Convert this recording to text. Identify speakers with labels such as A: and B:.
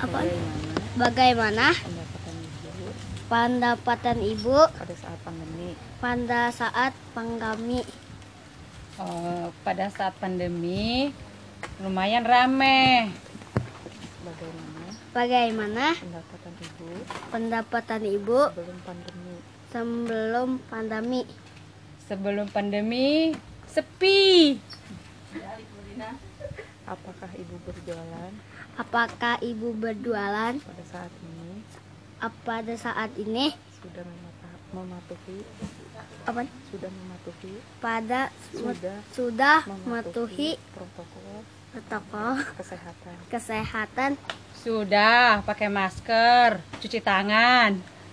A: Apaan?
B: Bagaimana
A: Bagaimana pendapatan
B: pendapatan ibu
A: ibu
B: pada saat pandemi?
A: pada saat pandemi?
B: Eh, pada saat pandemi lumayan rame. Bagaimana
A: Bagaimana
B: pendapatan ibu
A: pendapatan ibu
B: sebelum pandemi?
A: sebelum pandemi?
B: Sebelum pandemi sepi. Apakah ibu berjualan
A: Apakah ibu berjualan
B: pada saat ini
A: apa pada saat ini?
B: sudah memata- mematuhi
A: Apa?
B: sudah mematuhi
A: Pada mut-
B: sudah
A: sudah
B: mematuhi
A: mematuhi
B: protokol
A: protokol
B: kesehatan
A: kesehatan
B: Sudah, pakai masker, cuci tangan.